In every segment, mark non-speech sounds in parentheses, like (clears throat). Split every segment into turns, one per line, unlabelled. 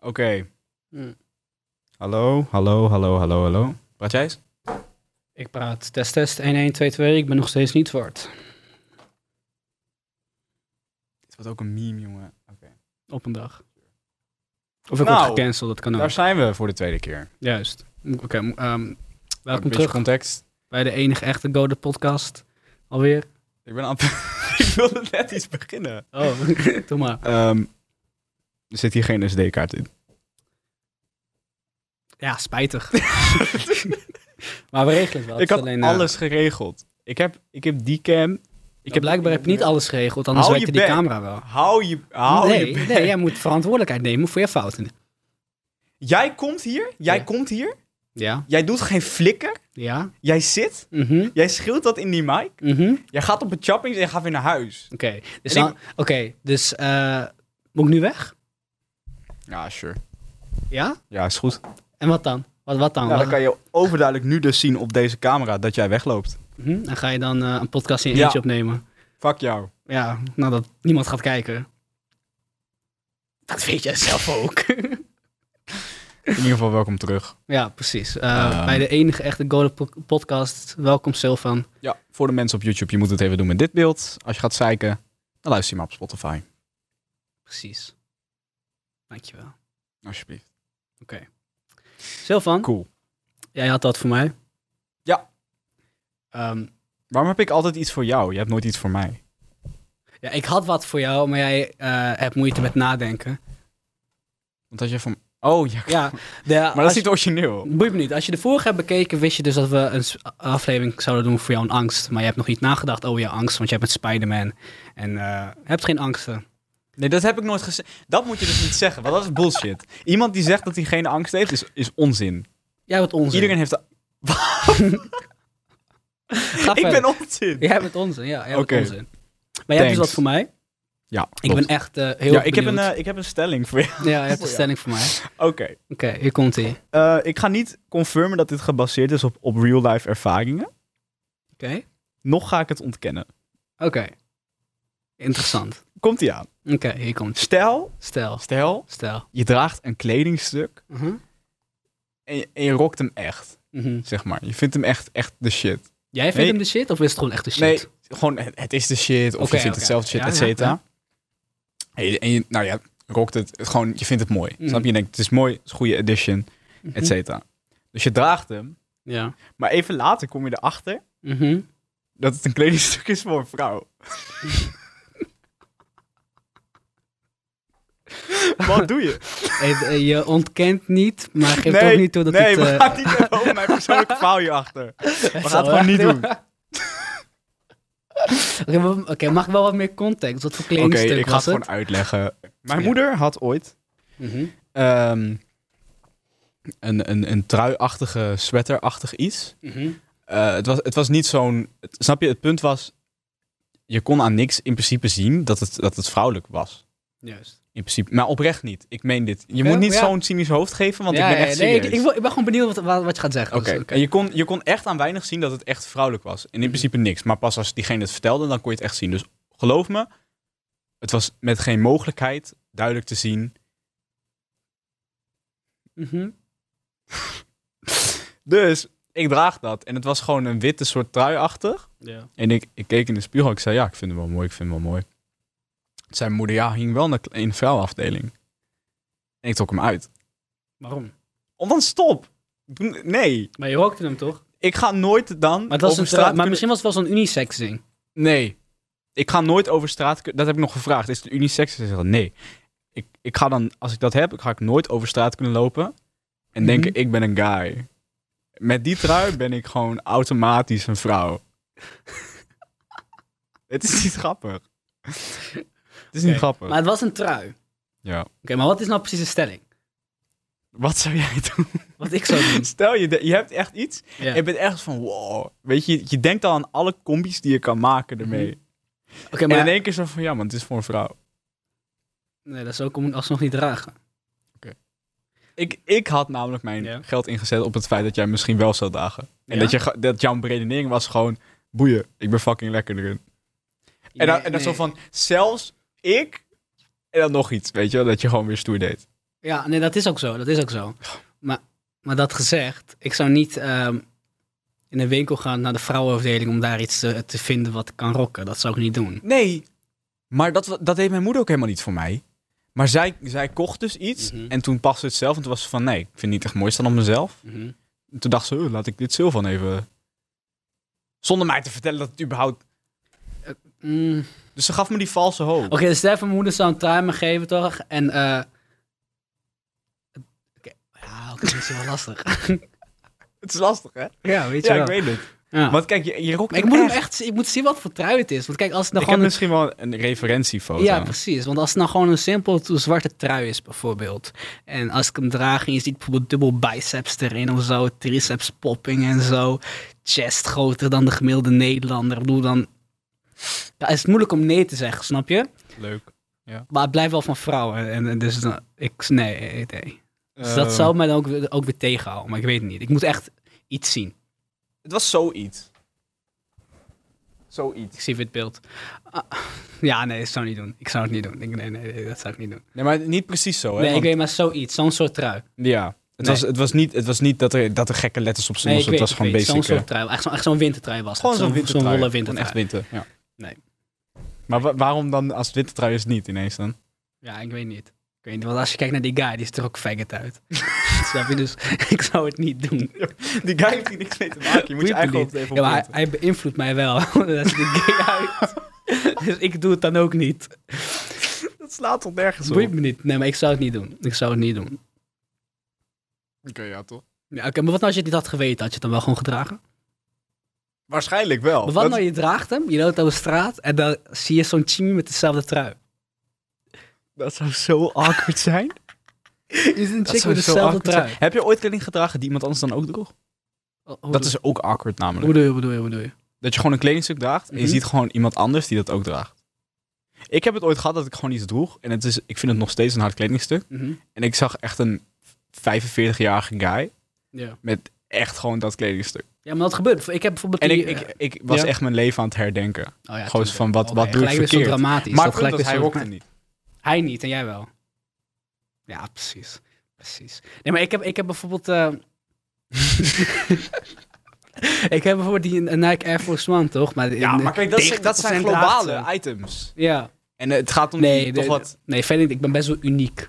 Oké.
Hm.
Hallo, hallo, hallo, hallo, hallo. Praat jij eens?
Ik praat test test 1122, ik ben nog steeds niet zwart.
Dit was ook een meme, jongen.
Op een dag. Of ik
Nou,
word gecanceld, dat kan ook.
Daar zijn we voor de tweede keer.
Juist. Oké, m- ehm,
Een
welkom
beetje
terug
context.
bij de enige echte Gode podcast. Alweer.
Ik ben aan (laughs) Ik wilde net iets beginnen.
Oh,
(laughs)
(laughs) doe maar.
Ehm, er zit hier geen SD-kaart in.
Ja,
(laughs)
spijtig. maar we regelen het
ik
wel. Het is
had
alleen, eh,
alles geregeld. Ik heb, ik heb die cam. Ik
Ik heb, blijkbaar heb je niet alles geregeld, anders
Hou je
werkte
bek.
die camera wel.
Hou je... Hou
nee,
je bek.
nee, jij moet verantwoordelijkheid nemen voor je fouten.
Jij komt hier. Jij
Ja.
komt hier.
Ja,
Jij doet geen flikker.
ja.
Jij zit.
Mhm,
Jij schreeuwt dat in die mic.
mhm.
Jij gaat op het chappings en je gaat weer naar huis.
Oké, dus,
En ik-
dan- oké, dus eh, moet ik nu weg?
Ja, sure.
Ja?
Ja, is goed.
En wat dan? Wat, wat dan?
Nou, dan
Wat-
kan je overduidelijk nu dus zien op deze camera dat jij wegloopt.
Mhm, Dan ga je dan eh, een podcast in je
Ja.
eentje opnemen.
Fuck jou.
Ja, nou dat niemand gaat kijken. Dat weet jij zelf ook. (laughs)
In ieder geval welkom terug.
ja, precies. Eh,
Ehm.
Bij de enige echte Golden po- Podcast. Welkom Silvan.
Ja, voor de mensen op YouTube, je moet het even doen met dit beeld. Als je gaat zeiken, dan luister je maar op Spotify.
Precies. Dankjewel.
Alsjeblieft.
Silvan,
Cool.
jij had dat voor mij.
Ja.
Ehm,
Waarom heb ik altijd iets voor jou? Je hebt nooit iets voor mij.
ja, ik had wat voor jou, maar jij eh, hebt moeite met nadenken.
Want als je van... Oh, ja.
Ja, de-
Maar dat
als
is niet origineel.
Boeit me niet. Als je de vorige hebt bekeken, wist je dus dat we een s- aflevering zouden doen voor jouw angst. Maar je hebt nog niet nagedacht over jouw angst, want jij bent Spider-Man. En eh, hebt geen angsten.
Nee, dat heb ik nooit gezegd. Dat moet je dus niet zeggen, want dat is bullshit. Iemand die zegt dat hij geen angst heeft, is, is onzin.
Jij bent onzin.
Iedereen heeft...
Ga
(laughs) Ik
verder.
ben onzin.
Jij bent onzin, ja. Jij bent
Oké.
onzin. Maar jij hebt
Thanks.
dus wat voor mij.
Ja,
Ik ben echt eh, heel
ja, ik, heb een,
benieuwd.
eh, ik heb een stelling voor je.
Ja, je hebt een
ja.
stelling voor mij.
(laughs) Oké.
Oké, hier komt ie. Oké.
Eh, ik ga niet confirmen dat dit gebaseerd is op, op real-life ervaringen. Nog ga ik het ontkennen.
Oké. Interessant.
Komt ie aan.
Oké, hier komt ie.
Stel,
Stel,
stel,
stel.
je draagt een kledingstuk
Mhm.
en je, en je rokt hem echt,
Mhm.
zeg maar. Je vindt hem echt, echt de shit.
Jij vindt
Nee.
hem de shit of is het gewoon echt de shit?
Nee, gewoon het, het is de shit of
Oké,
je vindt
oké.
het zelf shit,
Ja,
et
ja,
cetera.
ja.
En, je, en je- nou ja, rokt het, het gewoon, je vindt het mooi.
Mhm.
Snap je? Je denkt, het is mooi, het is een goede edition,
Mhm.
et cetera. Dus je draagt hem,
Ja.
maar even later kom je erachter
Mhm.
dat het een kledingstuk is voor een vrouw. Wat doe je?
Eh, eh, Je ontkent niet, maar geeft
Nee,
ook niet toe dat
nee,
het...
we
eh,
gaan niet even over mijn
(laughs)
persoonlijke verhaal hier achter. We gaan het gewoon niet doen. Oké,
Oké, maar- Oké, mag ik wel wat meer context? Wat voor kledingstuk
ik ga het
was
gewoon
het?
uitleggen. Mijn
Ja.
moeder had ooit
Mhm.
ehm, een, een, een truiachtige, sweaterachtig iets.
Mhm.
Eh, het, was, het was niet zo'n... het- Snap je, het punt was... Je kon aan niks in principe zien dat het, dat het vrouwelijk was.
Juist.
In principe. Maar oprecht niet. Ik meen dit. Je
Oké,
moet niet
ja.
zo'n cynisch hoofd geven, want
Ja,
ik ben
ja,
echt
nee, ik,
serieus.
ik, wil- ik ben gewoon benieuwd wat, wat, wat je gaat zeggen.
Oké,
Dus,
en je kon, je kon echt aan weinig zien dat het echt vrouwelijk was.
Mhm.
En in principe niks. Maar pas als diegene het vertelde, dan kon je het echt zien. Dus geloof me, het was met geen mogelijkheid duidelijk te zien.
Mhm.
Dus ik draag dat. En het was gewoon een witte soort truiachtig.
Ja.
En ik, ik keek in de spiegel. Ik zei, ja, ik vind hem wel mooi. Ik vind hem wel mooi. Toen zei mijn moeder, ja, hing wel in de, in de vuilafdeling. En ik trok hem uit.
Waarom?
Om dan stop. Doe- Nee,
Maar je rookte hem toch?
ik ga nooit dan
Maar, het was
over
een
straat
tra- maar
kunnen-
misschien was het wel zo'n unisex ding.
Nee. Ik ga nooit over straat... kun- Dat heb ik nog gevraagd. Is het unisex? Ze zeggen nee. Ik, ik ga dan, als ik dat heb, ga ik nooit over straat kunnen lopen. En
Mhm.
denken, ik ben een guy. Met die trui ben ik gewoon automatisch een vrouw. (laughs) het is niet grappig. het is niet
Oké,
grappig.
Maar het was een trui. Oké,
Ja.
maar wat is nou precies de stelling?
Wat zou jij (laughs) doen?
Wat ik
(laughs)
zou doen.
Stel, je, de- je hebt echt iets.
Ja.
En je bent echt van, wow. Weet je, je denkt al aan alle combis die je kan maken
Mhm.
ermee.
Oké, maar...
En in één keer zo van, ja, want het is voor een vrouw.
Nee, dat zou ik hem alsnog niet dragen.
Ik, ik had namelijk mijn
Ja.
geld ingezet op het feit dat jij misschien wel zou dagen. En
Ja?
dat, je, ge- dat jouw beredenering was gewoon... Boeien, ik ben fucking lekker erin. en dan, en dan
Nee,
zo
nee.
van, zelfs ik... En dan nog iets, weet je wel, Dat je gewoon weer stoer deed.
Ja, nee, dat is ook zo. Dat is ook zo. Maar, maar dat gezegd, ik zou niet ehm, in een winkel gaan naar de vrouwenafdeling om daar iets te, te vinden wat kan rocken. Dat zou ik niet doen.
Nee. Maar dat, wa- dat deed mijn moeder ook helemaal niet voor mij. Maar zij, zij kocht dus iets.
Mhm.
En toen paste het zelf. En toen was ze van, nee, ik vind het niet echt mooi staan op mezelf.
Mhm.
En toen dacht ze, "Oh, laat ik dit Sylvan even... Zonder mij te vertellen dat het überhaupt...
Mm.
Dus ze gaf me die valse hoop.
Oké, dus stel even mijn moeder zou een timer geven, toch? En eh oké, Ja, oké, dat is wel lastig.
Het is lastig, hè?
ja, weet je
Ja, ik
wel.
weet het.
Ja.
Want kijk, je, je rokt
Maar ik
hem
moet, hem
echt.
echt, ik moet zien wat voor trui het is. Want kijk, als het
Ik
nou
heb
gewoon... een-
misschien wel een referentiefoto.
ja, precies. Want als het nou gewoon een simpel to- zwarte trui is, bijvoorbeeld. En als ik hem draag en je ziet bijvoorbeeld dubbel biceps erin of zo. Triceps popping en zo. Chest groter dan de gemiddelde Nederlander. Ik bedoel, dan... Ja, het is moeilijk om nee te zeggen, snap je?
Leuk.
Maar het blijft wel van vrouwen. En, en dus dan, ik, nee, nee, nee. Dus
Ehm,
dat
Eh.
zou mij dan ook, weer- ook weer tegenhouden. Maar ik weet het niet. Ik moet echt iets zien.
Het was zoiets. Zoiets.
Ik zie wit beeld. Ah, ja, nee, dat zou ik niet doen. Ik zou het niet doen. Ik, nee, nee, nee, dat zou ik niet doen.
Nee, maar niet precies zo, hè?
nee, ik
want-
weet maar zoiets. Zo'n soort trui.
Ja. Het,
Nee.
was, het, was niet, het was niet dat er, dat er gekke letters op
Nee,
stonden. dus
ik
het
weet,
was
ik
gewoon
weet,
basic.
Zo'n
hè?
soort trui. Echt zo'n echt zo'n wintertrui was het.
Gewoon zo'n wintertrui.
Zo'n wollen
Gewoon
wintertrui.
Echt winter, ja.
Nee.
Maar wa- waarom dan als het wintertrui is niet ineens dan? (laughs)
Ja, ik weet niet. Ik weet niet, want als je kijkt naar die guy, die is er ook faggot uit. (laughs) Snap je? Dus (laughs) ik zou het niet doen.
(laughs) Die guy heeft hier niks mee te maken. Je moet je
Boeit me
eigen
niet.
hoofd even
Ja, maar hij,
opletten.
hij beïnvloedt mij wel. (laughs) dat is die gay uit. (laughs) dus ik doe het dan ook niet.
Dat slaat toch nergens
Boeit me niet. Nee, maar ik zou het niet doen. Ik zou het niet doen.
ja toch?
Ja, Oké, maar wat nou als je het niet had geweten? Had je het dan wel gewoon gedragen?
Waarschijnlijk wel.
maar wat
Dat-
nou, je draagt hem, je loopt over straat en dan zie je zo'n chimie met dezelfde trui.
dat zou zo awkward zijn.
Je ziet een chick met dezelfde trui.
Heb je ooit kleding gedragen die iemand anders dan ook droeg?
Oh, hoe
Dat
doe-
is ook awkward namelijk.
Hoe doe je, hoe doe je, hoe doe je?
Dat je gewoon een kledingstuk draagt en je
Mhm.
ziet gewoon iemand anders die dat ook draagt. Ik heb het ooit gehad dat ik gewoon iets droeg en het is, ik vind het nog steeds een hard kledingstuk.
Mhm.
En ik zag echt een 45-jarige guy
ja.
met echt gewoon dat kledingstuk.
ja, maar dat gebeurt. Ik heb bijvoorbeeld
En
die,
ik, ik,
eh,
ik was
ja.
echt mijn leven aan het herdenken.
oh ja,
Gewoon
tuurlijk.
van, wat-
Oh,
wat
nee,
doe ik
gelijk weer zo
verkeerd?
dramatisch.
Maar
dat
het punt
gelijk
was,
weer
hij
zo-
rokte niet.
Hij niet en jij wel. Ja, precies. Precies. Nee, maar ik heb, ik heb bijvoorbeeld... eh, (laughs) ik heb bijvoorbeeld die eh, Nike Air Force One, toch? Maar in-
Ja, maar kijk, dat, zijn- dat zijn
90% draagt
globale
ze.
items.
Ja.
En eh, het gaat om
Nee,
die,
de-
toch wat...
Nee, verder niet. Ik ben best wel uniek.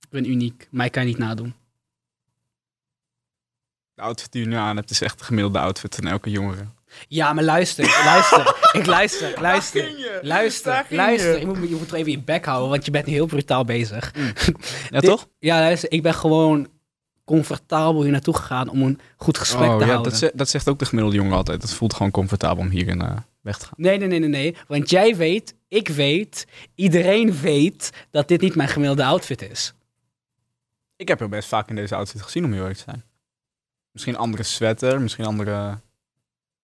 Ik ben uniek. Mij kan je niet nadoen.
De outfit die je nu aan hebt is echt de gemiddelde outfit van elke jongere.
Ja, maar luister. luister. Ik luister. ik Luister.
Daar
Luister,
ging
luister.
je.
Je moet, je moet er even je bek houden, want je bent heel brutaal bezig.
Ja,
Dit-
toch?
Ja, luister, ik ben gewoon comfortabel hier naartoe gegaan om een goed gesprek
Oh,
te
ja,
houden.
dat, ze- dat zegt ook de gemiddelde jongen altijd. Het voelt gewoon comfortabel om hierin eh, weg te gaan.
Nee, nee, nee, nee, nee. Want jij weet, ik weet, iedereen weet dat dit niet mijn gemiddelde outfit is.
Ik heb heel best vaak in deze outfit gezien, om heel eerlijk te zijn. Misschien andere sweater, misschien andere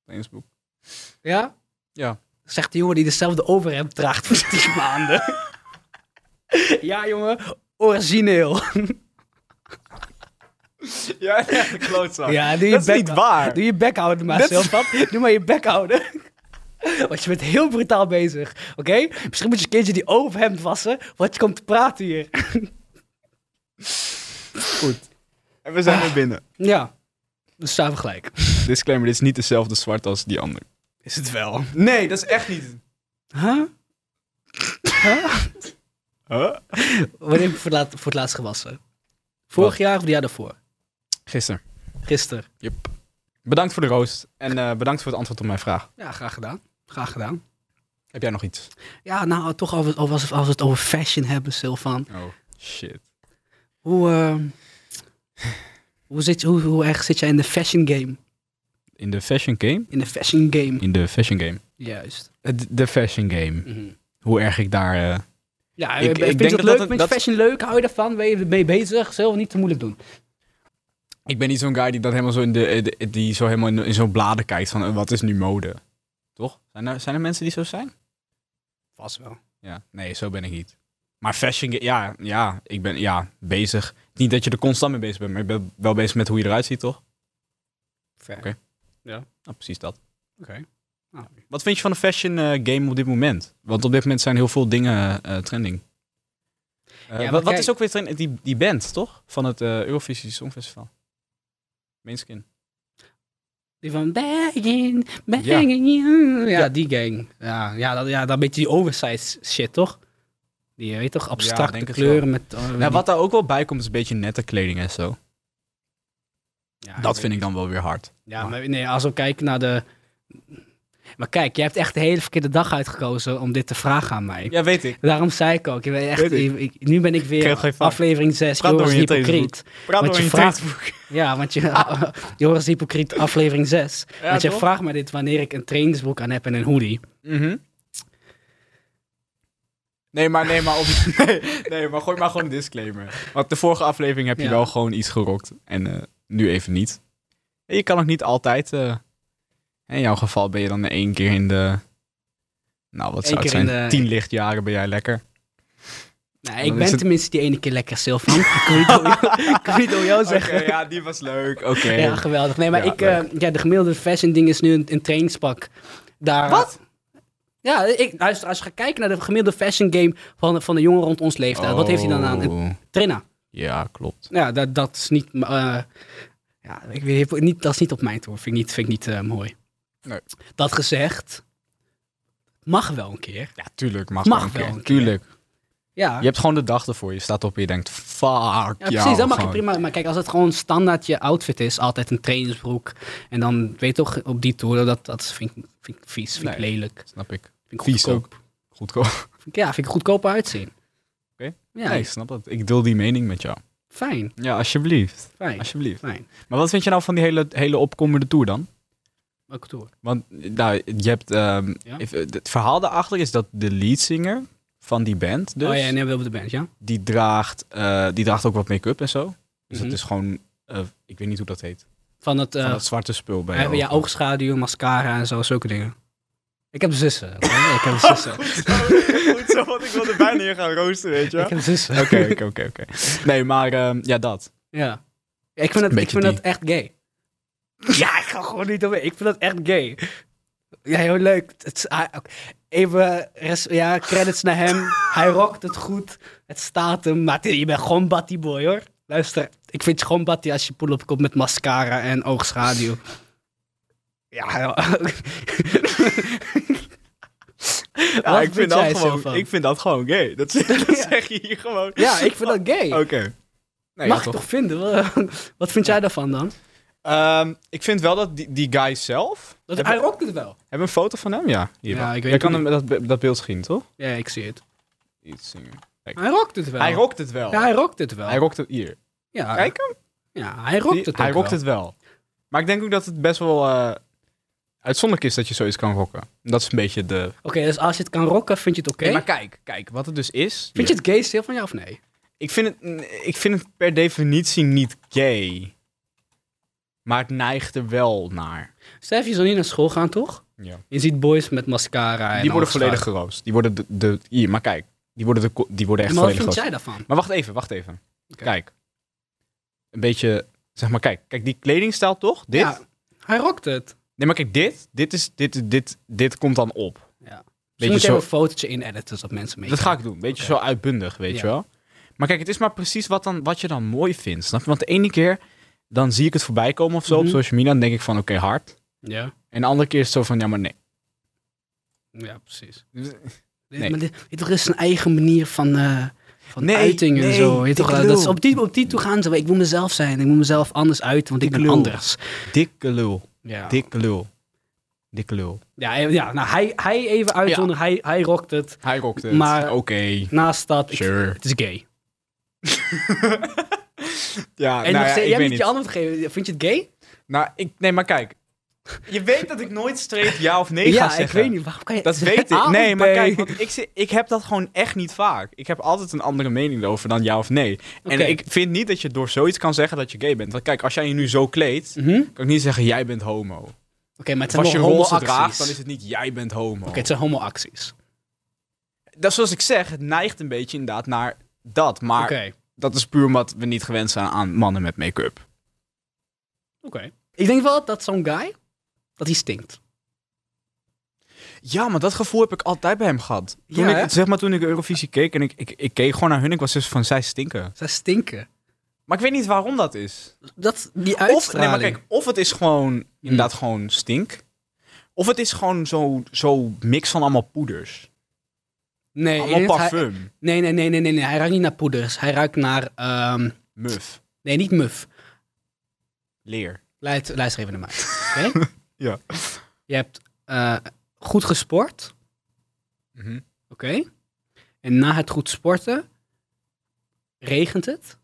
trainingsboek.
Ja?
Ja.
Zegt de jongen die dezelfde overhemd draagt voor tien (laughs) maanden. ja, jongen. Origineel.
(laughs) Ja, echt een klootzak.
Ja, doe je
dat is
bek
niet
maar.
waar.
Doe je bek houden, maar
Dat-
zelf. Doe maar je bek houden. (laughs) Want je bent heel brutaal bezig, oké? Misschien moet je een keertje die overhemd wassen, want je komt te praten hier.
Goed. En we zijn weer binnen.
Ja, dus staan we gelijk.
Disclaimer, dit is niet dezelfde zwart als die ander.
Is het wel.
Nee, dat is echt niet...
Huh?
Huh?
Wanneer heb je voor het, laat- voor het laatst gewassen? Vorig
Wat?
jaar of het jaar daarvoor?
Gisteren.
Gisteren.
Bedankt voor de roost en eh, bedankt voor het antwoord op mijn vraag.
Ja, graag gedaan. Graag gedaan.
Heb jij nog iets?
Ja, nou, toch als we, als we, als we het over fashion hebben, Silvan.
Oh, shit.
Hoe, ehm, hoe, zit, je- hoe, hoe erg zit jij in de fashion game?
In de fashion game?
In de fashion game.
In de fashion game.
Juist.
Eh,
Mhm.
De, de fashion game. Hoe erg ik daar... eh,
Ja,
Ik-
ik,
ik
vind
denk dat
je dat leuk?
dat-
vind
dat-
je fashion leuk? Hou je ervan? Ben je mee bezig? Zelf niet te moeilijk doen.
Ik ben niet zo'n guy die dat helemaal zo in de, eh, de- die zo helemaal in, in zo'n bladen kijkt van eh, wat is nu mode. Toch? Zijn er, zijn er mensen die zo zijn?
Vast wel.
Ja, nee, zo ben ik niet. Maar fashion, ge- ja, ja, ik ben ja, bezig. Niet dat je er constant mee bezig bent, maar ik ben wel bezig met hoe je eruit ziet, toch?
Fair.
Oké. Nou, precies dat.
Oké. Nou,
Wat vind je van de fashion eh, game op dit moment? Want op dit moment zijn heel veel dingen eh, trending. Eh,
maar
wat, wat
kijk-
is ook weer het- die, die band, toch? Van het eh, Eurovisie Songfestival. Meenskin.
Die van banging,
Ja.
banging. you. Ja,
Ja.
die gang. Ja, ja, dat, ja, dat beetje die oversized shit, toch? Die, weet je toch, abstracte
denk het
kleuren met... oh, die-
Nou, wat daar ook wel bij komt, is een beetje nette kleding en zo.
ja,
dat vind Ah, ik dan wel weer hard.
Ja, maar nee, als we kijken naar de... Maar kijk, jij hebt echt de hele verkeerde dag uitgekozen om dit te vragen aan mij.
Ja, weet ik.
Daarom zei ik ook, je bent echt,
Weet ik.
ik- ik- nu ben ik weer
krijg geen vraag.
aflevering 6,
Praat
Joris
door je
Hypocriet.
Praat
Want
door
je
je
vraagt-
Facebook.
Ja, want je, (laughs) Joris Hypocriet, aflevering
(laughs)
6.
Ja,
want je
toch?
vraagt me dit wanneer ik een trainingsbroek aan heb en een hoodie.
Mhm. Nee, maar, nee, maar op, (laughs) nee, nee, maar gooi maar gewoon een disclaimer. Want de vorige aflevering heb je
Ja.
wel gewoon iets gerokt. En eh, nu even niet. En je kan ook niet altijd... eh, in jouw geval ben je dan één keer in de... Nou, wat
Eén
zou het
keer in
zijn?
de-
Tien lichtjaren ben jij lekker.
Nou,
Dan
ik
is
ben
het-
tenminste die ene keer lekker
(laughs)
Sylvan. ik wil niet door jou- (laughs) ik wil niet door jou zeggen.
Oké, ja, die was leuk. Oké.
Ja, geweldig. Nee, maar
Ja,
ik, eh, ja, de gemiddelde fashion ding is nu een, een trainingspak. Daar,
Wat?
Ja, ik, luister, als je gaat kijken naar de gemiddelde fashion game van, van de jongen rond ons leeftijd, wat heeft hij dan aan? Een
Oh,
trainer.
Ja, klopt.
Ja, dat, dat is niet. eh, ja, ik weet niet, dat is niet op mijn toer. Vind ik niet, vind ik niet eh, mooi.
Nee.
Dat gezegd, mag wel een keer.
Ja, tuurlijk. Mag,
Mag
wel een
wel
keer.
een keer.
Tuurlijk.
Ja,
Je hebt gewoon de dag ervoor. Je staat op en je denkt, fuck ja,
ja precies. Dat mag je
gewoon.
prima. Maar kijk, als het gewoon standaard je outfit is, altijd een trainingsbroek. En dan weet je toch op die toer, dat, dat vind, ik, vind ik vies, vind ik
Nee.
lelijk.
Snap ik.
Vind ik
Vies
goedkoop.
Goedkoop.
Vind ik- ja, vind ik goedkoop uitzien.
Oké.
Ja,
Nee, ik snap dat. Ik deel die mening met jou.
fijn,
Ja, alsjeblieft.
fijn,
Alsjeblieft.
fijn.
Maar wat vind je nou van die hele, hele opkomende tour dan?
Welke toer?
Want nou, je hebt... ehm,
Ja.
if- eh, het verhaal daarachter is dat de leadzanger van die band dus...
Oh ja, nee, we hebben de band, ja?
die, draagt, eh, die draagt ook wat make-up en zo. Dus
Mhm.
dat is gewoon... eh, ik weet niet hoe dat heet.
Van het, eh
Van dat zwarte spul bij
we hebben
je
ja,
ogen.
oogschaduw, mascara en zo, zulke dingen. Ik heb
(laughs)
zussen. oké? Ik heb zussen.
Goed (laughs) zo, want ik wilde bijna hier gaan roosteren, weet je
Ik heb zussen. (laughs)
Oké, oké, oké, oké. Nee, maar ehm, ja, dat.
Ja. Ik vind, dat, ik
Beetje
vind
die.
dat echt gay. (laughs) Ja, ik ga gewoon niet omheen. Ik vind dat echt gay. Ja, heel leuk. Het, is- hij- ook- even res- ja, credits naar (laughs) hem. Hij rockt het goed. Het staat hem. Maar het- je bent gewoon Batty boy hoor. Luister, ik vind je gewoon Batty als je pull-up komt met mascara en oogschaduw. Ja, (laughs) ja.
Ja,
Wat
ik, vind
jij
dat
ervan?
gewoon, ik vind dat gewoon gay. Dat, (laughs) dat zeg je hier gewoon.
Ja, ik vind dat gay. (laughs)
Oké. Nee,
Mag
ja,
ik
toch.
toch vinden? Wat vind jij daarvan dan?
Ehm, ik vind wel dat die, die guy zelf...
Dat,
hebben,
hij rockt het wel.
hebben we een foto van hem? Ja, hier
Ja,
wel.
ik weet
Jij kan
het
hem dat, be- dat beeld zien, toch?
Ja, ik zie het.
Iets zingen.
Hij rockt het wel.
Hij rokt het wel.
Ah, Ja, hij rockt het wel.
Hij rokt het hier.
ja,
Kijk hem.
ja, hij rokt
Die-
het ook
hij rokt
wel.
het wel. Maar ik denk ook dat het best wel eh, uitzonderlijk is dat je zoiets kan rocken. Dat is een beetje de...
Oké, dus als je het kan rocken, vind je het oké?
Nee, maar kijk, kijk, wat het dus is...
Vind je het gay stil van jou of nee?
Ik vind, het, ik vind het per definitie niet gay. Maar het neigt er wel naar.
Stef, je zou niet naar school gaan, toch? Je ziet boys met mascara en
Die worden
alles
volledig geroost. Die worden de, de, hier, maar kijk. Die worden, de, ko- die worden
eraan.
echt
Maar wat
volledig
vind
geroost.
jij daarvan?
Maar wacht even, wacht even.
Oké.
Kijk. Een beetje, zeg maar, kijk. Kijk, die kledingstijl toch? Dit?
Ja, hij rokt het.
Nee, maar kijk, dit, dit, is, dit, dit, dit komt dan op.
Ja. Dus
Beetje
moet
zo-
je even een fotootje inediten, zodat mensen mee.
Dat ga ik doen. Beetje
Oké.
zo uitbundig, weet
Ja.
je wel. Maar kijk, het is maar precies wat, dan, wat je dan mooi vindt. Snap je? Want de ene keer, dan zie ik het voorbij komen of zo
Mhm.
op social media. Dan denk ik van, oké, hard.
Ja,
En de andere keer is het zo van, ja, maar nee.
ja precies.
Nee.
Maar dit, dit- er is een eigen manier van, eh, van
Nee,
uiting en
nee,
zo. weet je toch,
dikke
eh, dat
lul.
ze op, die, op die toe gaan ze, ik wil mezelf zijn. Ik moet mezelf anders uiten, want ik
Dikke
ben
lul.
anders.
Dikke lul.
Ja.
Dikke lul. Dikke lul.
Ja, ja nou, hij, hij even uitzonder, hij, hij rokt het.
Hij rokt het.
Maar-
Oké,
Naast dat, ik-
sure.
het is gay.
Ja, nou
En nog
ja, ik
steeds- jij
weet
hebt je
niet.
antwoord gegeven. Vind je het gay?
Nou, ik, nee, maar kijk. Je weet dat ik nooit streep ja of nee ga
ja,
zeggen.
ik weet niet. Waarom kan je (laughs)
Dat weet
A
ik.
of
Nee, maar
B?
kijk, want ik, zi- ik heb dat gewoon echt niet vaak. Ik heb altijd een andere mening over dan ja of nee.
Oké.
En ik vind niet dat je door zoiets kan zeggen dat je gay bent. Want kijk, als jij je nu zo kleedt,
Mhm. Oké,
kan ik niet zeggen jij bent homo.
maar het
Of
zijn
als je
wel
een roze draagt,
homo-acties.
dan is het niet jij bent homo.
Oké, het zijn homo-acties.
dat is zoals ik zeg, het neigt een beetje inderdaad naar dat. Maar
Oké,
dat is puur omdat we niet gewend zijn aan mannen met make-up.
oké. Ik denk wel dat zo'n guy, dat hij stinkt.
Ja, maar dat gevoel heb ik altijd bij hem gehad. Toen
Ja, hè?
ik, zeg maar toen ik Eurovisie keek en ik, ik, ik keek gewoon naar hun. Ik was dus van, zij stinken.
Zij stinken.
Maar ik weet niet waarom dat is.
Dat, die
Of,
uitstraling.
nee, maar kijk, of het is gewoon inderdaad gewoon stink. Of het is gewoon zo'n zo mix van allemaal poeders.
nee,
Allemaal
ik denk dat hij-
parfum.
nee, nee, nee, nee, nee, nee. Hij ruikt niet naar poeders. Hij ruikt naar... ehm,
Muf.
nee, niet muf.
Leer.
Luid, luister even naar mij. Oké?
Ja.
Je hebt eh, goed gesport. Oké. En na het goed sporten regent het.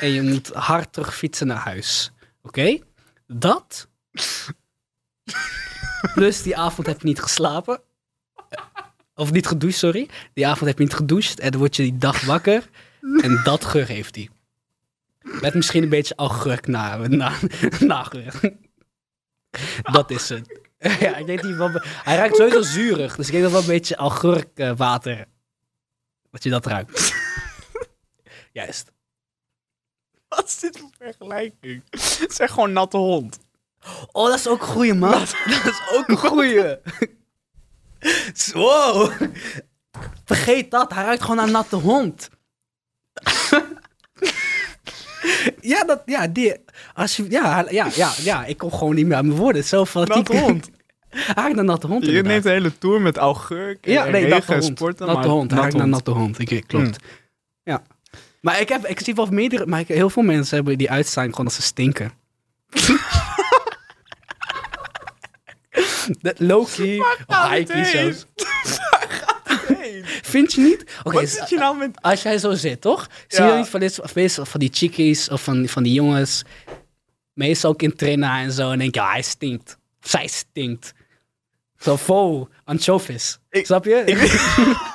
en je moet hard terug fietsen naar huis. Oké? Dat. Plus die avond heb je niet geslapen. Of niet gedoucht, sorry. Die avond heb je niet gedoucht. En dan word je die dag wakker. En dat geur heeft hij. Met misschien een beetje augurk na, na, (laughs) nageur. Dat is het. (laughs) Ja, ik denk die wel, hij ruikt sowieso zuurig, dus ik denk dat wel een beetje augurkwater. Dat je dat ruikt. (laughs) Juist.
(laughs) Wat is dit voor vergelijking? Het is echt gewoon natte hond.
Oh, dat is ook een goeie, man. Dat is ook een goeie. (laughs) Wow. Vergeet dat, hij ruikt gewoon naar natte hond. Ja, dat, ja, die, als je, ja, ja, ja, ja, ik kom gewoon niet meer aan mijn woorden. Zo fanatiek.
Natte (laughs) hond.
(laughs) Hij ruikt naar natte hond,
Je
inderdaad.
neemt een hele tour met augurk en
Ja, nee,
regen
natte
en
hond.
sporten.
natte
maar
hond. Hij ruikt naar
hond.
natte hond. Ik, ik- klopt.
Hmm.
Ja. Maar ik, heb, ik zie wel meerdere... Maar ik- heel veel mensen hebben die uitstraling gewoon dat ze stinken. (laughs) Dat Loki,
gaat
Haiky
het heen? (laughs)
zelfs.
Hey,
Vind je niet? Oké,
wat zit je nou met...
als jij zo zit, toch? Zie je
Ja.
dan niet van, dit, of meestal van die chickies of van, van die jongens... Meestal ook in trainen en zo. En denk je, ah, hij stinkt. Of zij stinkt. Zo vol anchovies.
Ik-
Snap je?
(laughs)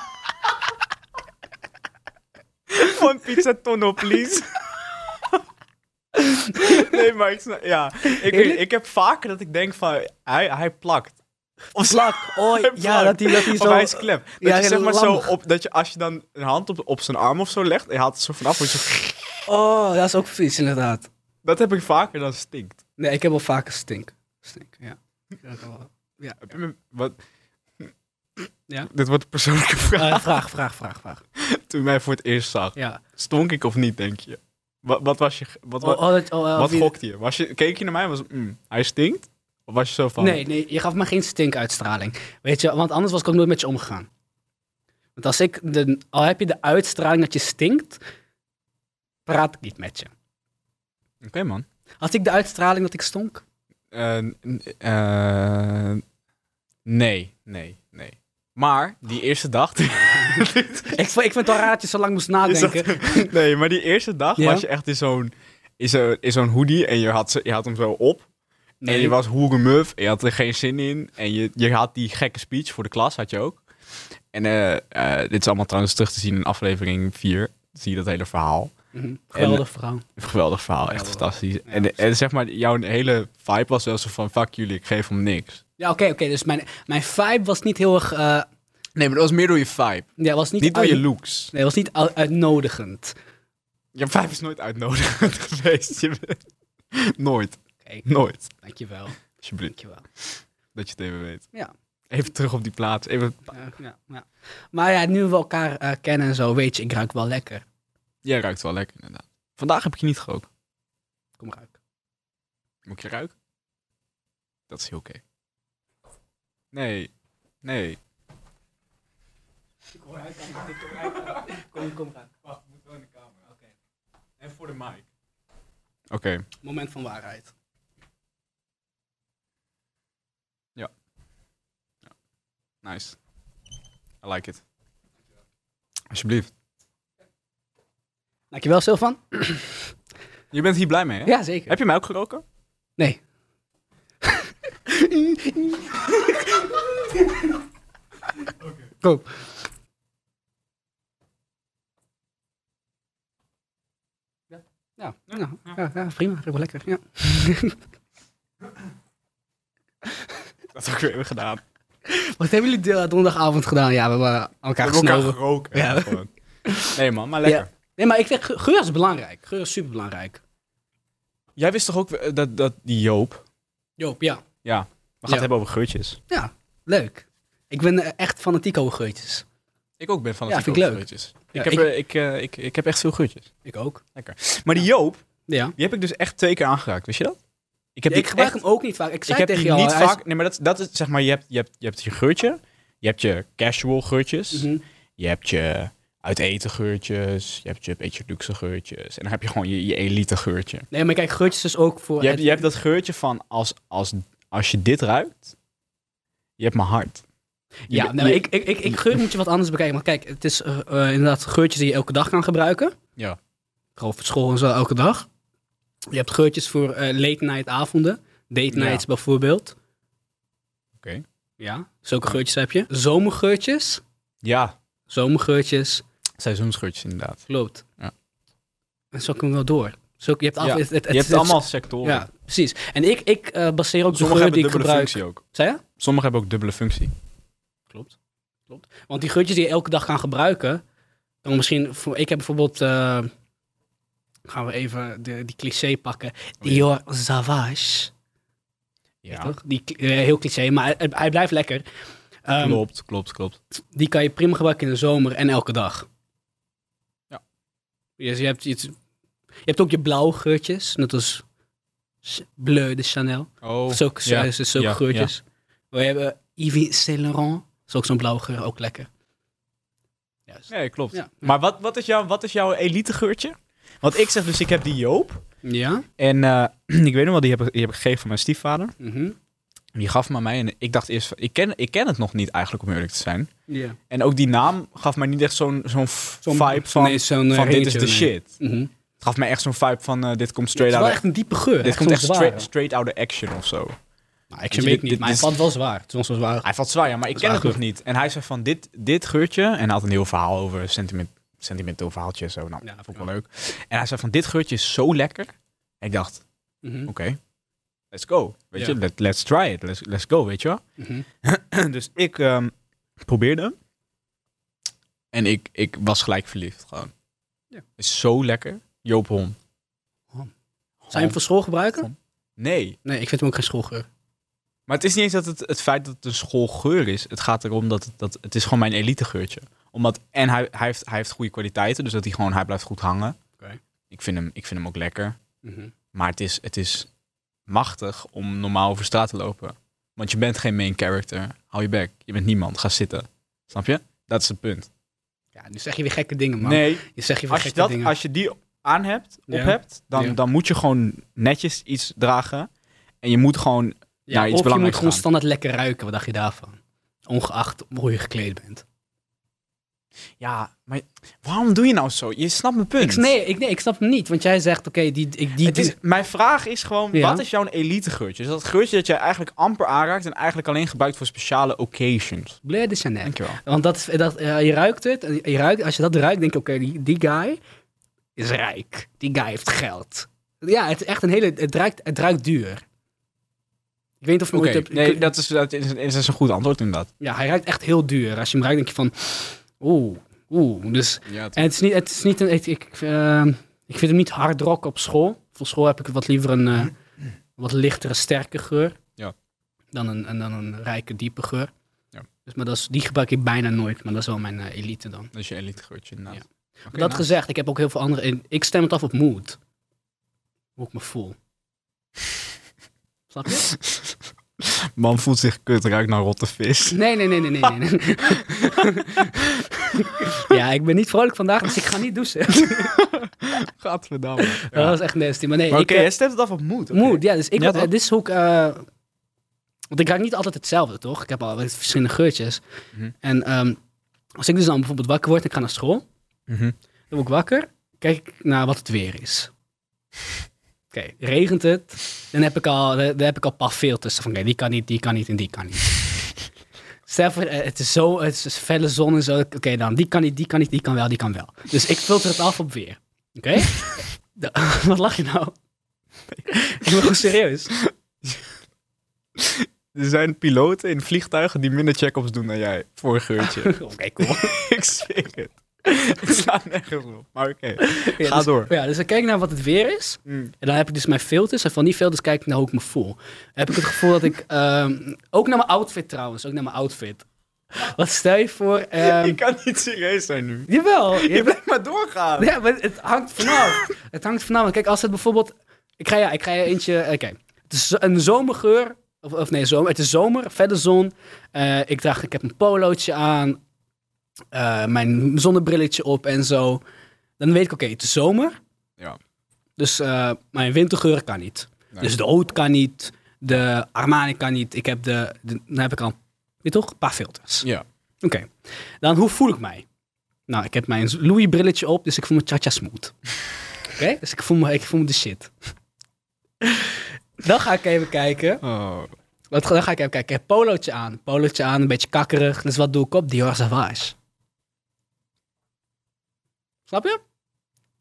Gewoon pizza tonno, please. (laughs) nee, maar ik snap... Ja, ik,
Eerlijk?
ik heb vaker dat ik denk van... Hij, hij plakt. Of
Plak. Oh,
(laughs) Hij
ja, dat hij, dat hij
Of
zo...
hij is klep. Dat
Ja,
je zeg maar
lammig.
zo op... Dat je als je dan een hand op, op zijn arm of zo legt... En je haalt het zo vanaf. word je-
Oh, dat is ook vies, inderdaad.
Dat heb ik vaker dan stinkt.
Nee, ik heb wel vaker stink. Stink, ja. Ik ruik al wel. Ja.
Heb je me- Wat...
Ja?
Dit wordt een persoonlijke vraag.
Eh, vraag, vraag, vraag, vraag.
Toen je mij voor het eerst zag,
Ja.
stonk ik of niet, denk je? Wat, wat was je... Wat,
Oh,
wat,
oh, dat- oh, eh,
wat
wie-
gokte je? Was je? Keek je naar mij en was... mm, hij stinkt? Of was je zo van...
Nee, nee, je gaf me geen stinkuitstraling. Weet je, want anders was ik ook nooit met je omgegaan. Want als ik, de, al heb je de uitstraling dat je stinkt, praat ik niet met je.
Oké, man.
Had ik de uitstraling dat ik stonk?
Eh, n- eh, nee, nee, nee. Maar die eerste dag...
Ik, vo- ik vind het wel raar dat je zo lang
(laughs)
moest
Is dat-
nadenken.
nee, maar die eerste dag
Ja?
was je echt in zo'n in zo, in zo'n hoodie en je had, ze- je had hem zo op. En
Nee.
je was hoerenmuf en je had er geen zin in. En je, je had die gekke speech voor de klas, had je ook. En eh, eh, dit is allemaal trouwens terug te zien in aflevering 4. Zie je dat hele verhaal.
Mhm, Geweldig vrouw.
Een Geweldig verhaal, echt
Ja,
fantastisch.
ja,
en, en zeg maar, jouw hele vibe was wel zo van, fuck jullie, ik geef hem niks.
Ja, oké, oké. dus mijn, mijn vibe was niet heel erg... eh,
Nee, maar dat was meer door je vibe.
ja, was niet
Niet door je
uit-
looks.
Nee, het was niet u- uitnodigend.
Je vibe is nooit uitnodigend (laughs) geweest. Je bent- Nooit,
Oké, (laughs)
nooit.
dankjewel.
Alsjeblieft. (laughs)
Dankjewel.
Dat je het even weet.
Ja.
Even terug op die plaats. Even...
Ja, ja, ja. Maar ja, nu we elkaar eh, kennen en zo, weet je, ik ruik wel lekker.
Jij ruikt wel lekker, inderdaad. Vandaag heb ik je niet gerookt.
Kom ruik.
Moet ik je ruiken? Dat is heel oké. Nee. Nee.
Kom ruik Kom, kom ruik.
Wacht, moet wel in de camera. Oké. En voor de mic. Oké.
Moment van waarheid.
Nice. I like it. Alsjeblieft.
Dankjewel, Silvan.
Je bent hier blij mee, hè?
Ja, zeker.
Heb je mij ook geroken? (laughs)
Nee. Kom. Ja, ja, ja, ja, ja, prima. Ruikt wel lekker, ja.
Dat heb ik weer gedaan. We
Wat hebben jullie de- donderdagavond gedaan? Ja, we hebben elkaar
hebben elkaar
gesnoven.
geroken.
Ja.
hè, gewoon. Nee man, maar lekker.
Ja. Nee, maar ik vind ge- geur is belangrijk. Geur is superbelangrijk.
Jij wist toch ook eh, dat, dat die Joop...
Joop, ja.
Ja, we gaan
Ja.
het hebben over geurtjes.
Ja, Leuk. Ik ben eh, echt fanatiek over geurtjes.
Ik ook ben van
Ja,
het
vind ik leuk.
geurtjes.
Ja,
ik, heb,
ik-
eh, ik, eh, ik, ik heb echt veel geurtjes.
Ik ook.
Maar die Joop,
Ja.
die heb ik dus echt twee keer aangeraakt. Wist je dat? Ik heb
ik
die
gebruik
echt-
hem ook niet vaak. Ik
Ik
zei
heb
tegen
die
jou.
niet
hij is-
vaak. Nee, maar dat, dat is zeg maar, je hebt, je, hebt, je hebt je geurtje. Je hebt je casual geurtjes.
Mhm.
Je hebt je uit eten geurtjes. Je hebt je beetje luxe geurtjes. En dan heb je gewoon je, je elite geurtje.
Nee, maar kijk, geurtjes is ook voor...
Je hebt,
het-
je hebt dat geurtje van als, als, als je dit ruikt, je hebt mijn hart. Je
Ja,
bent-
nee, maar
je-
ik, ik, ik, ik geur moet je wat anders bekijken. Want kijk, het is eh, eh, inderdaad geurtjes die je elke dag kan gebruiken.
Ja.
Gewoon voor school en zo elke dag. Je hebt geurtjes voor eh, late night avonden. Date
Ja.
nights bijvoorbeeld.
Oké.
Ja, zulke geurtjes heb je. Zomergeurtjes.
Ja,
Zomergeurtjes.
seizoensgeurtjes inderdaad.
Klopt.
Ja.
En zo kunnen we wel door. Zo, je hebt, af,
Ja,
het, het,
je hebt
het-
allemaal sectoren.
Ja, precies. En ik, ik eh, baseer ook
Sommige
de geur
hebben
die ik
dubbele
gebruik.
functie ook.
Zei je?
Sommige hebben ook dubbele functie.
Klopt. Klopt. Want die geurtjes die je elke dag gaan gebruiken, dan misschien voor, ik heb bijvoorbeeld, eh, gaan we even de, die cliché pakken, Dior Savage,
Oh, Ja,
toch? Die, eh, heel cliché, maar hij, hij blijft lekker. Ehm,
klopt, klopt, klopt.
die kan je prima gebruiken in de zomer en elke dag.
Ja.
Dus je hebt, iets, je hebt ook je blauwe geurtjes, net als S- Bleu de Chanel.
Oh,
Zulke,
ja,
eh, zulke
ja,
geurtjes. We hebben Yves Saint Laurent. is ook zo'n blauwe geur, ook lekker. Juist.
Nee, klopt.
Ja.
Maar wat, wat, is jouw, wat is jouw elite geurtje? Want ik zeg dus, ik heb die Joop.
Ja?
En eh, (clears throat) ik weet nog wel, die heb, ik- die heb ik gegeven van mijn stiefvader.
Mhm.
Die gaf hem aan mij en ik dacht eerst, van- ik ken, ik ken het nog niet eigenlijk om eerlijk te zijn.
Ja.
En ook die naam gaf mij niet echt zo'n zo'n f-
Zo'n
vibe van,
nee, zo'n, eh,
van dit is
ringetje,
de
nee.
shit.
Mhm.
Het gaf mij echt zo'n vibe van eh, dit komt
Het is
straight
wel
out
echt een diepe geur.
dit komt echt
zo'n
straight,
zware.
straight out of action of zo.
Nou, ik
Weet je,
weet
dit-
niet,
dit
maar hij
is-
valt wel zwaar. Het is wel zo zwaar.
Hij valt zwaar, ja, maar ik
is
ken het nog
eigenlijk-
niet. En hij zei van dit, dit geurtje, en hij had een heel verhaal over een sentiment, sentimenteel verhaaltje en zo. Nou,
Ja,
dat vond ik wel leuk. En hij zei van dit geurtje is zo lekker. En ik dacht,
Mhm.
oké, let's go. Weet
Ja.
je, let, let's try it, let's, let's go, weet je wel.
(clears throat) Mhm.
Dus ik ehm, probeerde hem. En ik, ik was gelijk verliefd gewoon.
Ja.
Is zo lekker. Joop Hon.
Hon. Zou je hem voor school gebruiken?
Oh. Nee.
Nee, ik vind hem ook geen schoolgeur.
Maar het is niet eens dat het, het feit dat het een schoolgeur is. Het gaat erom dat het, dat, het is gewoon mijn elite geurtje. Omdat, en hij, hij, heeft, hij heeft goede kwaliteiten. Dus dat hij gewoon, hij blijft goed hangen.
Oké.
Ik, vind hem, ik vind hem ook lekker.
Mhm.
Maar het is, het is machtig om normaal over straat te lopen. Want je bent geen main character. Hou je bek. Je bent niemand. Ga zitten. Snap je? Dat is het punt.
Ja, nu zeg je weer gekke dingen, man.
Nee,
Je zegt je weer
als je,
gekke
dat,
dingen.
als je die aan hebt, op
Ja.
hebt, dan,
Ja.
dan moet je gewoon netjes iets dragen. En je moet gewoon...
ja,
naar iets
of je moet
belangrijks
gewoon
gaan.
standaard lekker ruiken. Wat dacht je daarvan? Ongeacht hoe je gekleed bent.
Ja, maar waarom doe je nou zo? Je snapt mijn punt.
Ik, nee, ik, nee, ik snap hem niet. Want jij zegt, oké, die, ik- die,
Het
die,
is, mijn vraag is gewoon,
Ja.
wat is jouw elite geurtje? Dus dat geurtje dat jij eigenlijk amper aanraakt en eigenlijk alleen gebruikt voor speciale occasions.
Bleu de Chanel.
Dankjewel.
Want dat, is- dat, eh, je ruikt het. En je ruikt, als je dat ruikt, denk je, oké, die, die guy is rijk. Die guy heeft geld. Ja, het is echt een hele... Het ruikt, het ruikt duur. Ik weet niet of je
Oké,
ooit hebt...
nee, dat is, dat, is, dat is een goed antwoord inderdaad.
Ja, hij ruikt echt heel duur. Als je hem ruikt, denk je van... Oeh, oeh. Dus,
Ja,
en het is niet... Het is niet een, ik, ik, eh, ik vind hem niet hard rock op school. Voor school heb ik wat liever een eh, wat lichtere, sterke geur.
Ja.
Dan een, en dan een rijke, diepe geur.
Ja.
Dus, maar dat is, die gebruik ik bijna nooit. Maar dat is wel mijn eh, elite dan.
dat is je elite geurtje inderdaad. Oké,
dat
nou.
gezegd, ik heb ook heel veel andere. in- Ik stem het af op mood. Hoe ik me voel. Snap je?
Man voelt zich kut, ruikt naar rotte vis.
Nee, nee, nee, nee, nee. nee, nee. ja, ik ben niet vrolijk vandaag, dus ik ga niet douchen.
(laughs) Gadverdamme.
Dat
Ja.
was echt nasty. Maar nee,
Maar
ik,
Oké,
eh,
jij stemt het af op moed. oké.
mood. Ja, dus ik,
Ja, toch?
eh, dit is hoe ik. eh, want ik ruik niet altijd hetzelfde, toch? Ik heb al wat verschillende geurtjes.
Mhm.
En ehm, als ik dus dan bijvoorbeeld wakker word en ik ga naar school,
Mhm.
Dan word ik wakker, kijk ik naar wat het weer is. Oké, regent het, dan heb ik al, dan heb ik al paar veel tussen. Van, oké, die kan niet, die kan niet en die kan niet. Stel voor, eh, het is zo, het is felle zon en zo. Oké, dan die kan niet, die kan niet, die kan wel, die kan wel. Dus ik filter het af op weer. Oké? (laughs) De- wat lach je nou? Ik ben gewoon serieus. (laughs)
Er zijn (laughs) piloten in vliegtuigen die minder check-ups doen dan jij voor een geurtje.
Oké, cool.
(laughs) ik zweer het. Het slaat nergens op. Maar oké, ga
dus-
door.
Ja, dus dan kijk ik naar wat het weer is.
Mm.
En dan heb ik dus mijn filters. En van die filters kijk ik naar hoe ik me voel. Dan heb ik het gevoel dat ik... ehm, ook naar mijn outfit trouwens. Ook naar mijn outfit. Wat stel je voor... ehm,
je kan niet serieus zijn nu.
Jawel. je-
Je blijft maar doorgaan.
Ja, maar het hangt vanaf. het hangt vanaf. Want Kijk, als het bijvoorbeeld... Ik ga, ja, ik ga je eentje... Oké. Het is zo- een zomergeur. Of, of nee, zomer. Het is zomer. Verder zon. Eh, ik dacht, ik heb een polootje aan. eh, mijn zonnebrilletje op en zo. Dan weet ik, oké, het is zomer.
Ja.
Dus eh, mijn wintergeur kan niet.
Nee.
Dus de oud kan niet. De Armani kan niet. Ik heb de... de- dan heb ik al... Weet je toch? Een paar filters.
Ja.
Oké, dan hoe voel ik mij? Nou, ik heb mijn Louis-brilletje op, dus ik voel me cha-cha
(laughs)
smooth. Oké, dus ik voel, me, ik voel me de shit. Dan ga ik even kijken.
Oh.
Wat, dan ga ik even kijken. Ik heb polootje aan. Polootje aan, een beetje kakkerig. Dus wat doe ik op? Dior Sauvage. Snap je?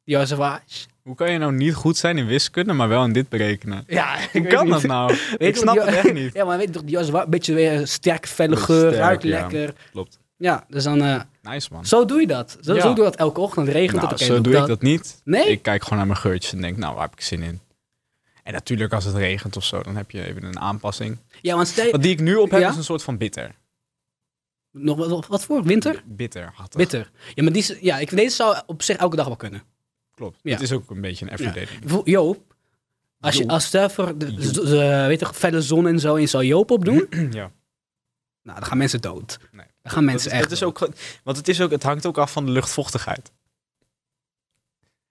Dior Sauvage.
Hoe kan je nou niet goed zijn in wiskunde, maar wel in dit berekenen?
Ja, (laughs) ik
Hoe
weet
kan
niet.
dat nou?
(laughs) Weet
ik
je,
snap
Dior-
het echt niet.
Ja, maar weet je toch, Dior Sauvage, een beetje weer een sterk, felle
Beetje
geur,
sterk,
ruikt
ja.
lekker.
Klopt.
Ja, dus dan... eh,
Nice man.
zo doe je dat. Zo,
Ja.
zo doe je dat elke ochtend. Regent
Nou,
het, oké,
zo doe ik dat niet.
Nee?
Ik kijk gewoon naar mijn geurtjes en denk, nou, waar heb ik zin in? En natuurlijk als het regent of zo, dan heb je even een aanpassing.
Ja, want stel je...
Wat die ik nu op heb
Ja?
is een soort van bitter.
Nog, wat, wat voor? Winter?
Bitter. Had
Bitter. Ja, maar die, is- ja, ik, deze zou op zich elke dag wel kunnen.
Klopt.
Ja.
Het is ook een beetje een everyday ding.
Bijvoorbeeld Joop. Als je
Joop.
als stel voor de,
Joop.
de- de- weet je, felle zon en zo, en je zou Joop
(laughs)
opdoen,
(clears throat) Ja.
nou, dan gaan mensen dood.
Nee.
Dan gaan mensen
Dat is-
echt
het is ook, ge- want het, is ook, het hangt ook af van de luchtvochtigheid.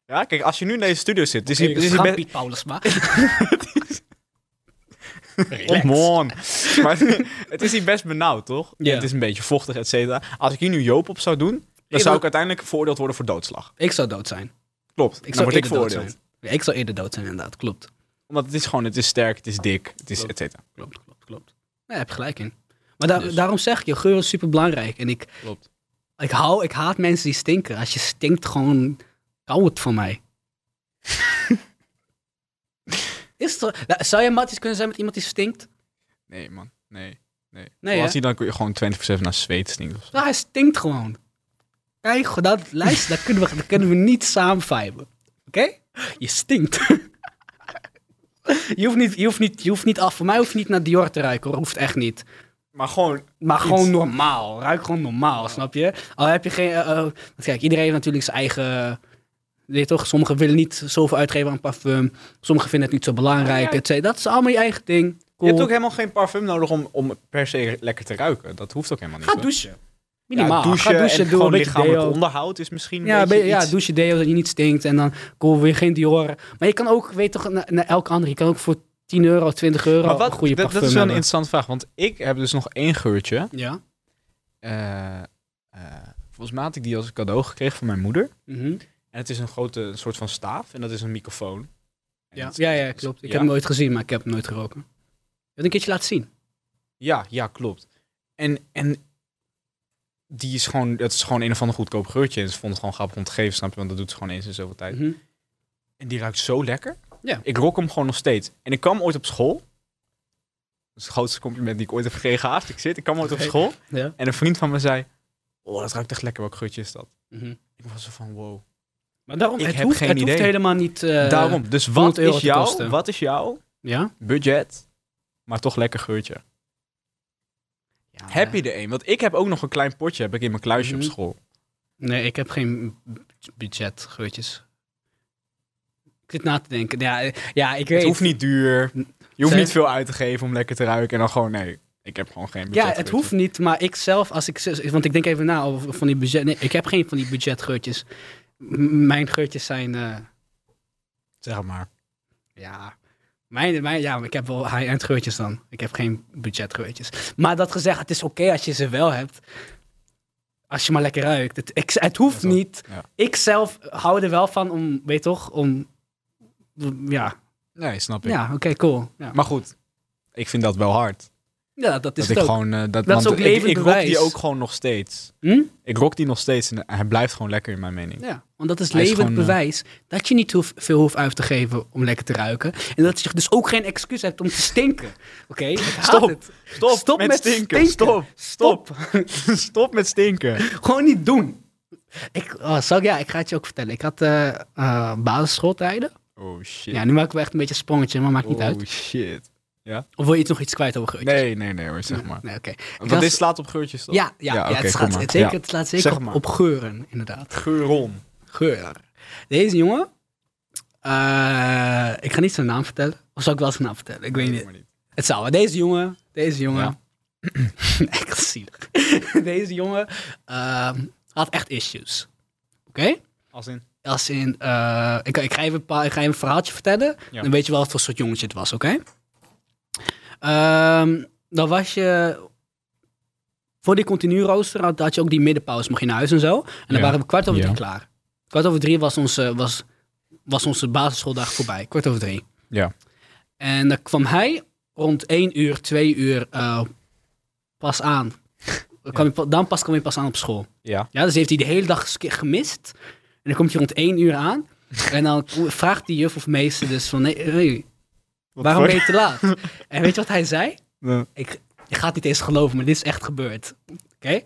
Ja, kijk, als je nu in deze studio zit, het is hier, het is hier best-
Piet Paulus,
(laughs)
(laughs) maar...
Kom
Relax.
on. Oh, (laughs) Maar het is hier best benauwd, toch?
Ja.
Het is een beetje vochtig, et cetera. Als ik hier nu Joop op zou doen, dan
wil-
zou ik uiteindelijk veroordeeld worden voor doodslag.
Ik zou dood zijn.
Klopt.
Ik
dan
zou
word ik
eerder dood
veroordeeld.
zijn. Ja, ik zou eerder dood zijn, inderdaad. Klopt.
Omdat het is gewoon, het is sterk, het is dik, het is et cetera.
Klopt, klopt, klopt. Ja, heb je gelijk in. Maar daar-
Dus.
daarom zeg ik je, geur is super belangrijk. En ik,
Klopt.
Ik hou, ik haat mensen die stinken. Als je stinkt, gewoon kou het van mij. (laughs) Is toch, nou, zou je matties kunnen zijn met iemand die stinkt?
Nee, man. Nee. Nee.
Nee,
Als
hè?
niet, dan kun je gewoon 24-7 naar zweet stinken. of zo.
Nou, hij stinkt gewoon. Kijk, goed, dat lijst, daar kunnen we, daar kunnen we niet samen viben. Oké? Je stinkt. (laughs) je, hoeft niet, je, hoeft niet, je hoeft niet af. Voor mij hoef je niet naar Dior te ruiken hoor. Hoeft echt niet.
Maar gewoon,
Maar
Iets.
gewoon normaal. Ruik gewoon normaal, snap je? Al heb je geen. eh, eh, want kijk, iedereen heeft natuurlijk zijn eigen. eh, Weet je toch? Sommigen willen niet zoveel uitgeven aan parfum. Sommigen vinden het niet zo belangrijk.
Ja.
et cetera. dat is allemaal je eigen ding.
je
Cool.
hebt ook helemaal geen parfum nodig om, om per se lekker te ruiken. Dat hoeft ook helemaal niet.
Ga
hè?
douchen.
Ja,
Minimaal.
douchen,
Ga douchen,
en
doe een
gewoon
beetje
lichamelijk
deo.
onderhoud is misschien
Ja,
een
be-
beetje
ja,
iets.
douche deo, dat je niet stinkt. En dan cool, weer geen Dior. Maar je kan ook, weet toch, naar, naar elk ander. Je kan ook voor 10 euro, 20 euro
Maar wat,
een goede
dat,
parfum
dat is wel een
hebben.
interessante vraag. Want ik heb dus nog één geurtje.
Ja.
eh, eh, volgens mij had ik die als cadeau gekregen van mijn moeder.
Mhm.
En het is een grote een soort van staaf en dat is een microfoon. En
ja.
het-
ja, ja, klopt. Ik
Ja?
heb hem nooit gezien, maar ik heb hem nooit geroken. Je had een keertje laten zien.
Ja, ja, klopt. En, en die is gewoon, dat is gewoon een of ander goedkoop geurtje. En ze vond het gewoon grappig om te geven, snap je? Want dat doet ze gewoon eens in zoveel tijd.
Mhm.
En die ruikt zo lekker.
Ja.
Ik rok hem gewoon nog steeds. En ik kwam ooit op school. Dat is het grootste compliment die ik ooit heb gekregen. Haast, ik zit. Ik kwam ooit op
Oké.
school.
Ja.
En een vriend van me zei, oh, dat ruikt echt lekker. Welk geurtje is dat?
Mhm.
Ik was zo van, wow.
Maar daarom,
Ik
het,
heb
hoeft,
geen
het
idee.
hoeft helemaal niet... eh,
Daarom, dus
100
wat
euro
is,
te
jouw,
kosten.
wat is jouw
Ja?
budget, maar toch lekker geurtje? Heb je er een? Want ik heb ook nog een klein potje heb ik in mijn kluisje
Mhm.
op school.
Nee, ik heb geen b- budget, geurtjes. Ik zit na te denken. Ja, eh, ja ik weet...
Het hoeft niet duur. Je hoeft
Zeg?
niet veel uit te geven om lekker te ruiken. En dan gewoon, nee, ik heb gewoon geen budget.
ja, het
weet
hoeft
je.
niet, maar ik zelf, als ik... z- Want ik denk even na over van die budget... Nee, ik heb geen van die budgetgeurtjes. M- mijn geurtjes zijn... eh,
Zeg maar.
ja... Mijn, mijn, ja, ik heb wel high-end geurtjes dan. Ik heb geen budgetgeurtjes. Maar dat gezegd, het is oké als je ze wel hebt. Als je maar lekker ruikt. Het, ik, het hoeft
Dat is wel-
niet.
ja.
Ik zelf hou er wel van om, weet je toch, om... Ja,
Nee, snap ik.
ja oké, cool. Ja,
Maar goed, ik vind dat wel hard.
ja dat
dat
is het
ik
ook.
gewoon, eh, dat,
is
want
ook
ik,
levend
ik rok
bewijs.
die ook gewoon nog steeds.
Hm?
Ik rok die nog steeds en hij blijft gewoon lekker in mijn mening.
Ja, want dat is
Hij is
levend
gewoon, eh,
bewijs dat je niet hoef- veel hoeft uit te geven om lekker te ruiken. En dat je dus ook geen excuus hebt om te stinken. Oké, ik haat
Stop.
het.
Stop, met, stinken. Stop,
Stop.
(laughs) stop met stinken.
Gewoon niet doen. Ik, oh, zal ik, ja, ik ga het je ook vertellen. Ik had eh eh, basisschooltijden.
Oh shit.
Ja, nu maak ik wel echt een beetje een sprongetje, maar maakt niet
oh
uit.
shit.
Of wil je iets nog iets kwijt over geurtjes?
Nee, nee, nee hoor, zeg maar.
Nee, oké.
Want
was-
dit slaat op geurtjes toch?
Ja,
Ja,
ja, ja,
oké,
het,
kom
slaat,
maar.
het, zeker,
Ja.
het slaat
Zeg
zeker op,
maar.
op geuren, inderdaad.
Geuron.
Geur. Deze jongen, eh, ik ga niet zijn naam vertellen. Of zal ik wel zijn naam vertellen? Ik weet niet.
Maar niet.
Het zou wel. Deze jongen, deze jongen.
Ja.
(laughs) echt zielig. deze jongen ehm, had echt issues. Oké?
Als in.
Als in, eh, ik, ik, ga even een paar, ik ga even een verhaaltje vertellen.
Ja.
Dan weet je wel wat voor soort jongetje het was, oké? Ehm, dan was je... Voor die continu rooster had, had je ook die middenpauze. Mocht je naar huis en zo. En dan
Ja.
waren we kwart over
Ja.
drie klaar. Kwart over drie was onze, was, was onze basisschooldag voorbij. Kwart over drie.
Ja.
En dan kwam hij rond één uur, twee uur eh, pas aan. Dan kwam je pa- dan pas kwam hij pas aan op school.
Ja.
Ja, dus heeft hij de hele dag ske- gemist. En dan komt hij rond één uur aan. En dan vraagt die juf of meester dus van... Nee, hey, waarom ben je te laat? En weet je wat hij zei? Ik, je gaat niet eens geloven, maar dit is echt gebeurd. Oké?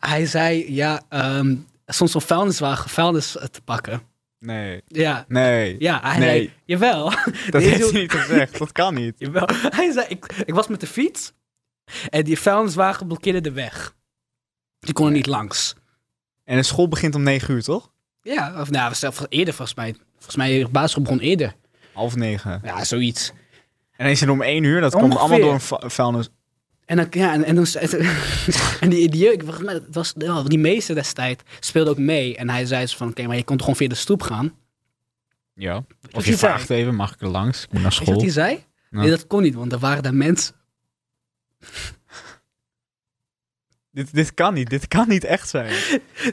Hij zei, ja, ehm, soms om vuilniswagen vuilnis eh, te pakken.
Nee.
Ja,
Nee.
ja hij
Nee.
zei, jawel. (laughs)
Dat
Deze
heeft
jongen-
hij niet gezegd. Dat kan niet.
Jawel. Hij zei, ik, ik was met de fiets en die vuilniswagen blokkeerde de weg. Die kon er niet langs.
En de school begint om 9 uur, toch?
Ja, of nou, zelfs eerder volgens mij. Volgens mij, de basisschool begon eerder.
Half negen.
Ja, zoiets.
En dan is het om 1 uur. Dat komt
Ongeveer.
allemaal door een vu- vuilnis.
En, dan, ja, en, en, dan, zei- (laughs) en die, die, jeuk, volgens mij, het was, ja, die meester destijds speelde ook mee. En hij zei dus van, oké, maar je kon toch gewoon via de stoep gaan.
Ja.
wat
Of je
hij zei?
vraagt even, mag ik er langs? Ik moet naar
Weet je wat
school.
hij zei?
Ja.
Nee, dat kon niet, want er waren daar mensen.
Dit, dit kan niet. Dit kan niet echt zijn.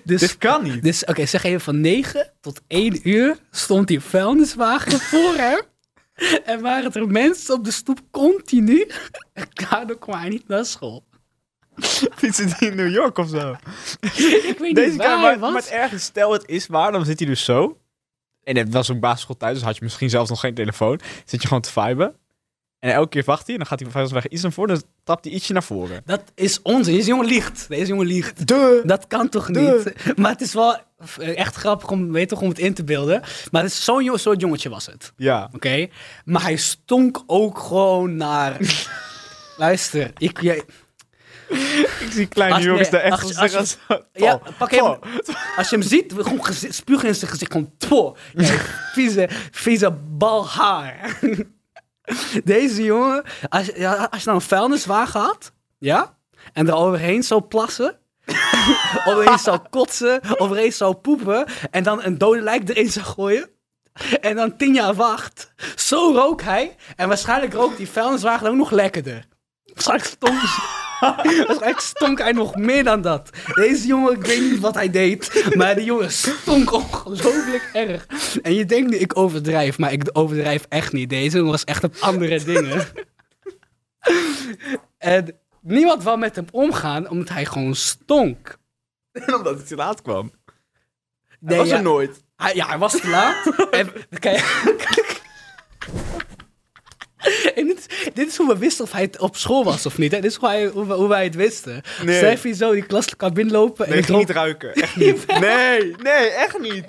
Dus,
dit kan (laughs) niet.
dus oké, zeg even van 9 tot 1 uur stond die vuilniswagen (laughs) voor hem. En waren er mensen op de stoep continu. (laughs) En daardoor kwam hij niet naar school.
Fietsen die in New York of zo?
Ik weet
Deze
niet waar
kan
hij
maar,
was.
maar het ergens, stel het is waar, dan zit hij dus zo. En het was ook basisschool thuis, dus had je misschien zelfs nog geen telefoon. Zit je gewoon te viben. En elke keer wacht hij, en dan gaat hij van weg iets naar voren, dan tapt hij ietsje naar voren.
Dat is onzin. Deze jongen liegt. Deze jongen liegt.
De.
Dat kan toch
Duh.
niet? Maar het is wel eh, echt grappig om, weet je toch, om het in te beelden. Maar het is zo'n jo- soort jongetje was het.
Ja.
Oké? Maar hij stonk ook gewoon naar... Luister, ik... je-
Ik zie kleine
Als-
jongens
nee,
daar echt als,
als- als-
zeggen als- Oh.
ja,
Paul,
pak even-
Paul.
als je hem ziet, gewoon gezi- spugen in zijn gezicht. Gewoon, poh, jij vieze, vieze balhaar. Deze jongen, als, ja, als je nou een vuilniswagen had, ja, en er overheen zou plassen, (laughs) overheen zou kotsen, overheen zou poepen, en dan een dode lijk erin zou gooien. En dan tien jaar wacht. Zo rook hij. En waarschijnlijk rookt die vuilniswagen ook nog lekkerder. Waarschijnlijk stonk, waarschijnlijk stonk hij nog meer dan dat. Deze jongen, ik weet niet wat hij deed. Maar die jongen stonk ongelooflijk erg. En je denkt nu, ik overdrijf. Maar ik overdrijf echt niet. Deze jongen was echt op andere dingen. En niemand wou met hem omgaan, omdat hij gewoon stonk.
(laughs) En omdat hij te laat kwam.
Nee,
was
ja.
er nooit.
Hij, ja, hij was te laat. en, kijk, (laughs) en dit, is- dit is hoe we wisten of hij het op school was of niet. Hè? Dit is hoe, hij, hoe, we- hoe wij het wisten.
Nee.
Zij je zo die klas kan binnenlopen. en
Nee,
ik
ik ging
loop
niet ruiken. Echt
(laughs)
niet. Nee, nee, echt niet.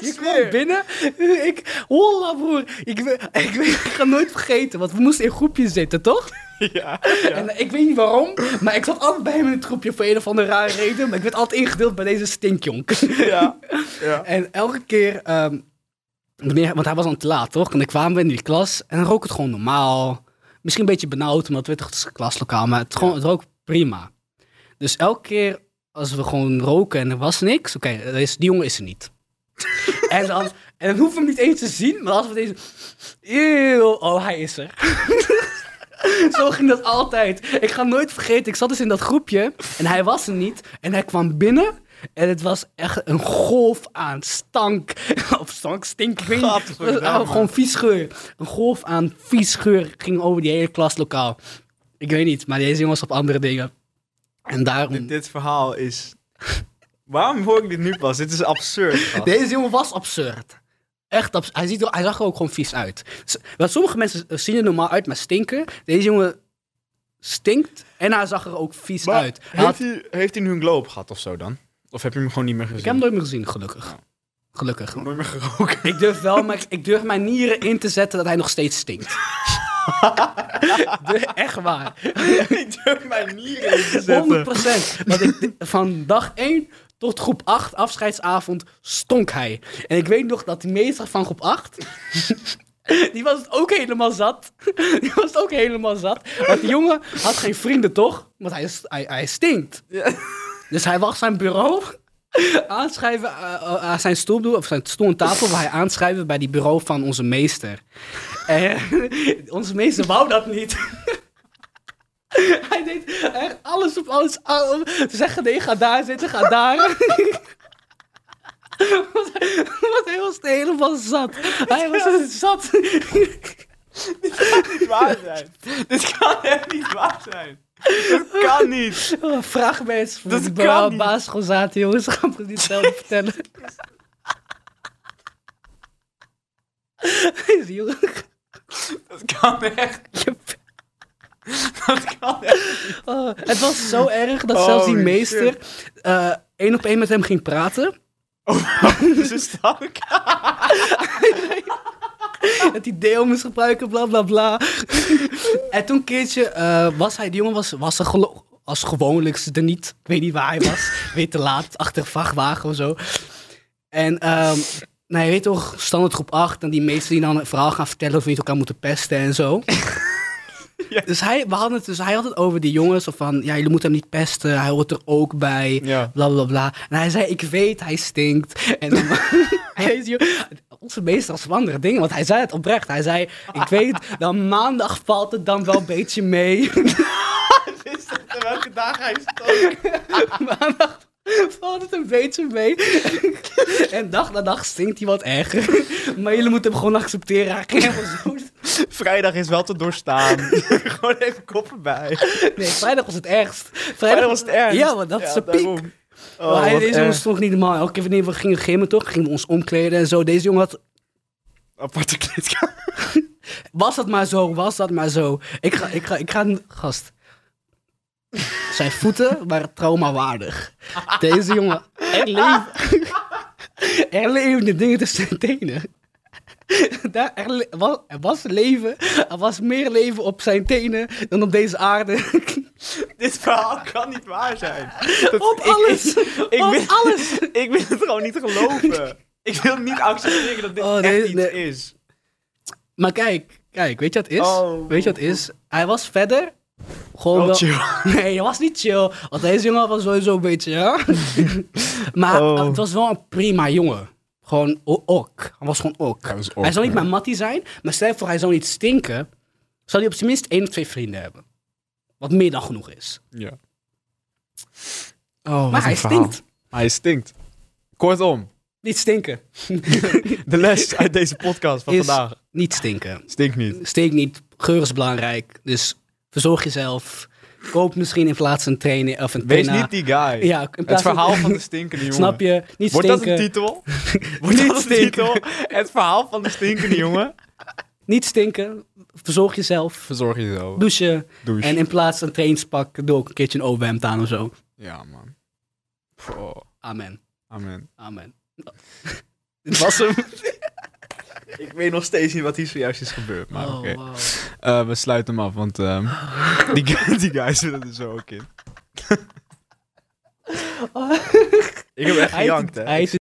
Je kwam binnen. (laughs) Ik, holla broer. Ik, we- ik, we- ik ga nooit vergeten, want we moesten in groepjes zitten, toch?
Ja.
En eh, ik weet niet waarom, maar ik zat altijd bij hem in het groepje voor een of andere rare reden. Maar ik werd altijd ingedeeld bij deze stinkjonk. (laughs)
Ja. ja.
En elke keer, ehm, wanneer, want hij was dan te laat, toch? En dan kwamen we in die klas en dan rook het gewoon normaal. Misschien een beetje benauwd, omdat het werd toch het klaslokaal, maar het, gewoon, het rook prima. Dus elke keer als we gewoon roken en er was niks, oké, er is- die jongen is er niet. en, dan, en dan hoeven we hem niet eens te zien, maar als we deze... Eeuw, oh, hij is er. (laughs) Zo ging dat altijd. Ik ga nooit vergeten, ik zat dus in dat groepje en hij was er niet. En hij kwam binnen en het was echt een golf aan stank. (laughs) Of stank, stink, ik weet niet.
Gadverdamme.
Ah, Gewoon vies geur. Een golf aan vies geur ging over die hele klaslokaal. Ik weet niet, maar deze jongen was op andere dingen. En daarom...
Dit verhaal is... Waarom hoor ik dit nu pas? Dit is
(laughs)
absurd. gast.
Deze jongen was absurd. Echt absurd. Hij, ziet er, hij zag er ook gewoon vies uit. S- Want sommige mensen zien er normaal uit, maar stinken. Deze jongen stinkt en hij zag er ook vies
Maar
uit. Hij
heeft,
had-
hij, heeft hij nu een globe gehad of zo dan? Of heb je hem gewoon niet meer gezien?
Ik heb hem nooit meer gezien, gelukkig. Gelukkig.
nooit meer geroken.
Ik durf wel, maar ik, ik durf mijn nieren in te zetten dat hij nog steeds stinkt.
(laughs)
De- echt waar. 100%.
(laughs) ik durf mijn nieren in
(laughs)
te zetten.
Want ik, van dag 1 tot groep 8, afscheidsavond, stonk hij. En ik weet nog dat die meester van groep 8. (laughs) Die was het ook helemaal zat. (laughs) Die was het ook helemaal zat. Want die jongen had geen vrienden, toch? Want hij, hij, hij stinkt. Dus hij wacht zijn bureau aanschrijven, eh, eh, aan zijn stoel, bedoel- of zijn stoel en tafel, waar hij aanschrijven bij die bureau van onze meester. En (laughs) onze meester wou dat niet. (laughs) Hij deed echt alles op alles aan. om Te zeggen, nee, ga daar zitten, ga daar. (laughs) Want hij- Want hij was helemaal zat. Hij was het zat. (laughs)
Dit kan niet waar zijn. Dit kan echt niet waar zijn. Dit kan niet.
Oh, Vraag mensen.
Dat
Dat
kan
kan
niet.
Baas Gozaten, jongens. Gaan we niet zelf
(laughs)
vertellen. (laughs) Deze jongen. (laughs)
Dat kan echt.
je-
Dat kan echt.
oh, het was zo erg dat
Oh, Holy
zelfs die meester eh, één op één met hem ging praten.
Ze stank.
(laughs) Dat hij deo moest gebruiken, bla bla bla. en toen een keertje eh, was hij, die jongen was, was er gelo- als gewoonlijk er niet. Ik weet niet waar hij was. weet te laat, achter een vrachtwagen of zo. En ehm nou, je weet toch, standaard groep 8. En die meesten die dan een verhaal gaan vertellen of we niet elkaar moeten pesten en zo.
Ja.
Dus, hij, we hadden het, dus hij had het over die jongens. Of van, ja, jullie moeten hem niet pesten. Hij hoort er ook bij.
Ja.
Bla, bla, bla. En hij zei, ik weet, hij stinkt.
(laughs)
En dan, hij is, joh, onze meester was van andere dingen. Want hij zei het oprecht. Hij zei, ik weet, dan maandag valt het dan wel een beetje mee. (laughs)
Is dat welke dagen hij stank?
maandag valt het een beetje mee. en dag na dag stinkt hij wat erger. maar jullie moeten hem gewoon accepteren. Hij ging helemaal zo...
Vrijdag is wel te doorstaan. (laughs) Gewoon even koppen bij.
Nee, vrijdag was het ergst.
Vrijdag was het ergst.
Ja, want dat is de piek.
daarom.
maar
Oh,
hij,
wat
deze jongen
erg.
stond niet normaal. Elke keer wanneer we gingen gimmen, toch? Gingen we ons omkleden en zo. Deze jongen had...
Aparte kleedkamer.
Was dat maar zo, was dat maar zo. Ik ga... Ik ga, ik ga gast. Zijn voeten waren traumawaardig. Deze jongen... Er leef- er leefde dingen tussen zijn tenen. Daar, er, le- was, er was leven. Er was meer leven op zijn tenen dan (laughs) op deze aarde.
(laughs) Dit verhaal kan niet waar zijn.
Op alles!
ik
op
wil-
alles!
Ik wil het gewoon niet geloven. Ik wil niet accepteren dat dit
Oh, nee,
echt iets
nee.
is.
Maar kijk, kijk, weet je wat het is?
Oh.
Weet je wat het is? Hij was verder. Gewoon
Wel
wel
chill.
(laughs) Nee, hij was niet chill. Want deze jongen was sowieso een beetje, ja. (laughs) maar
Oh.
het was wel een prima jongen. Gewoon o- ok. Hij was gewoon ok.
Hij
Hij,
was ok,
zou niet
ja.
mijn mattie zijn, maar stel je voor hij zou niet stinken. Zou hij op zijn minst één of twee vrienden hebben. Wat meer dan genoeg is.
Ja.
maar hij stinkt.
Hij stinkt. Kortom,
Niet stinken.
de (laughs) les uit deze podcast van
Is
vandaag.
niet stinken.
Stinkt niet.
steek niet. Geur is belangrijk. Dus verzorg jezelf. Koop misschien in plaats van een trainer of een
Wees
trainer.
niet die guy.
Ja, in
het
plaats
verhaal van de stinkende jongen.
(laughs) Snap je? Niet
Wordt dat
stinken.
een
(laughs)
titel? Wordt dat een
stinken.
titel? Het verhaal van de
(laughs)
stinkende jongen.
niet stinken. Verzorg jezelf.
Verzorg jezelf.
Douchen.
Douche.
En in plaats van een trainingspak doe ook een keertje een overhemd aan of zo.
Ja, man. Oh,
Amen.
amen.
Amen. Dit was hem.
(laughs) Ik weet nog steeds niet wat hier zojuist is gebeurd, maar
Oh,
oké.
wow.
Eh, we sluiten hem af, want
(laughs)
ehm, die, guy- die guys willen er zo ook in. Ik heb echt
Hij heet-
gejankt, hè.
hij heet-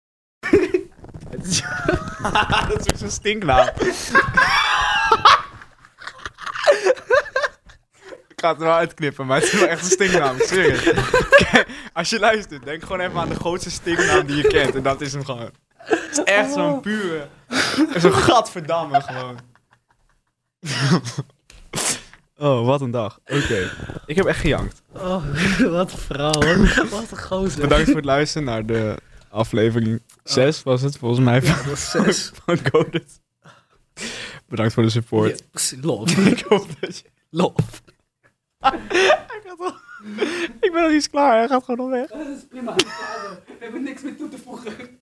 dat is ook zo'n stinknaam. Ik ga het er wel uitknippen, maar het is wel echt een stinknaam, serieus. Kijk, Als je luistert, denk gewoon even aan de grootste stinknaam die je kent. En dat is hem gewoon. Het is echt zo'n pure... Zo'n gadverdamme gewoon. Oh, wat een dag. Oké. Ik heb echt gejankt.
Oh, (laughs) wat een vrouw.
(laughs)
hoor. Wat een gozer.
Bedankt voor het luisteren naar de aflevering 6 was het volgens mij van,
Dat was zes.
van Coded. Bedankt voor de support.
Ja, precies. Love.
Ik hoop dat je...
Love.
Ik ben nog niet eens klaar, hij gaat gewoon nog weg.
Dat is prima. We hebben niks meer toe te voegen.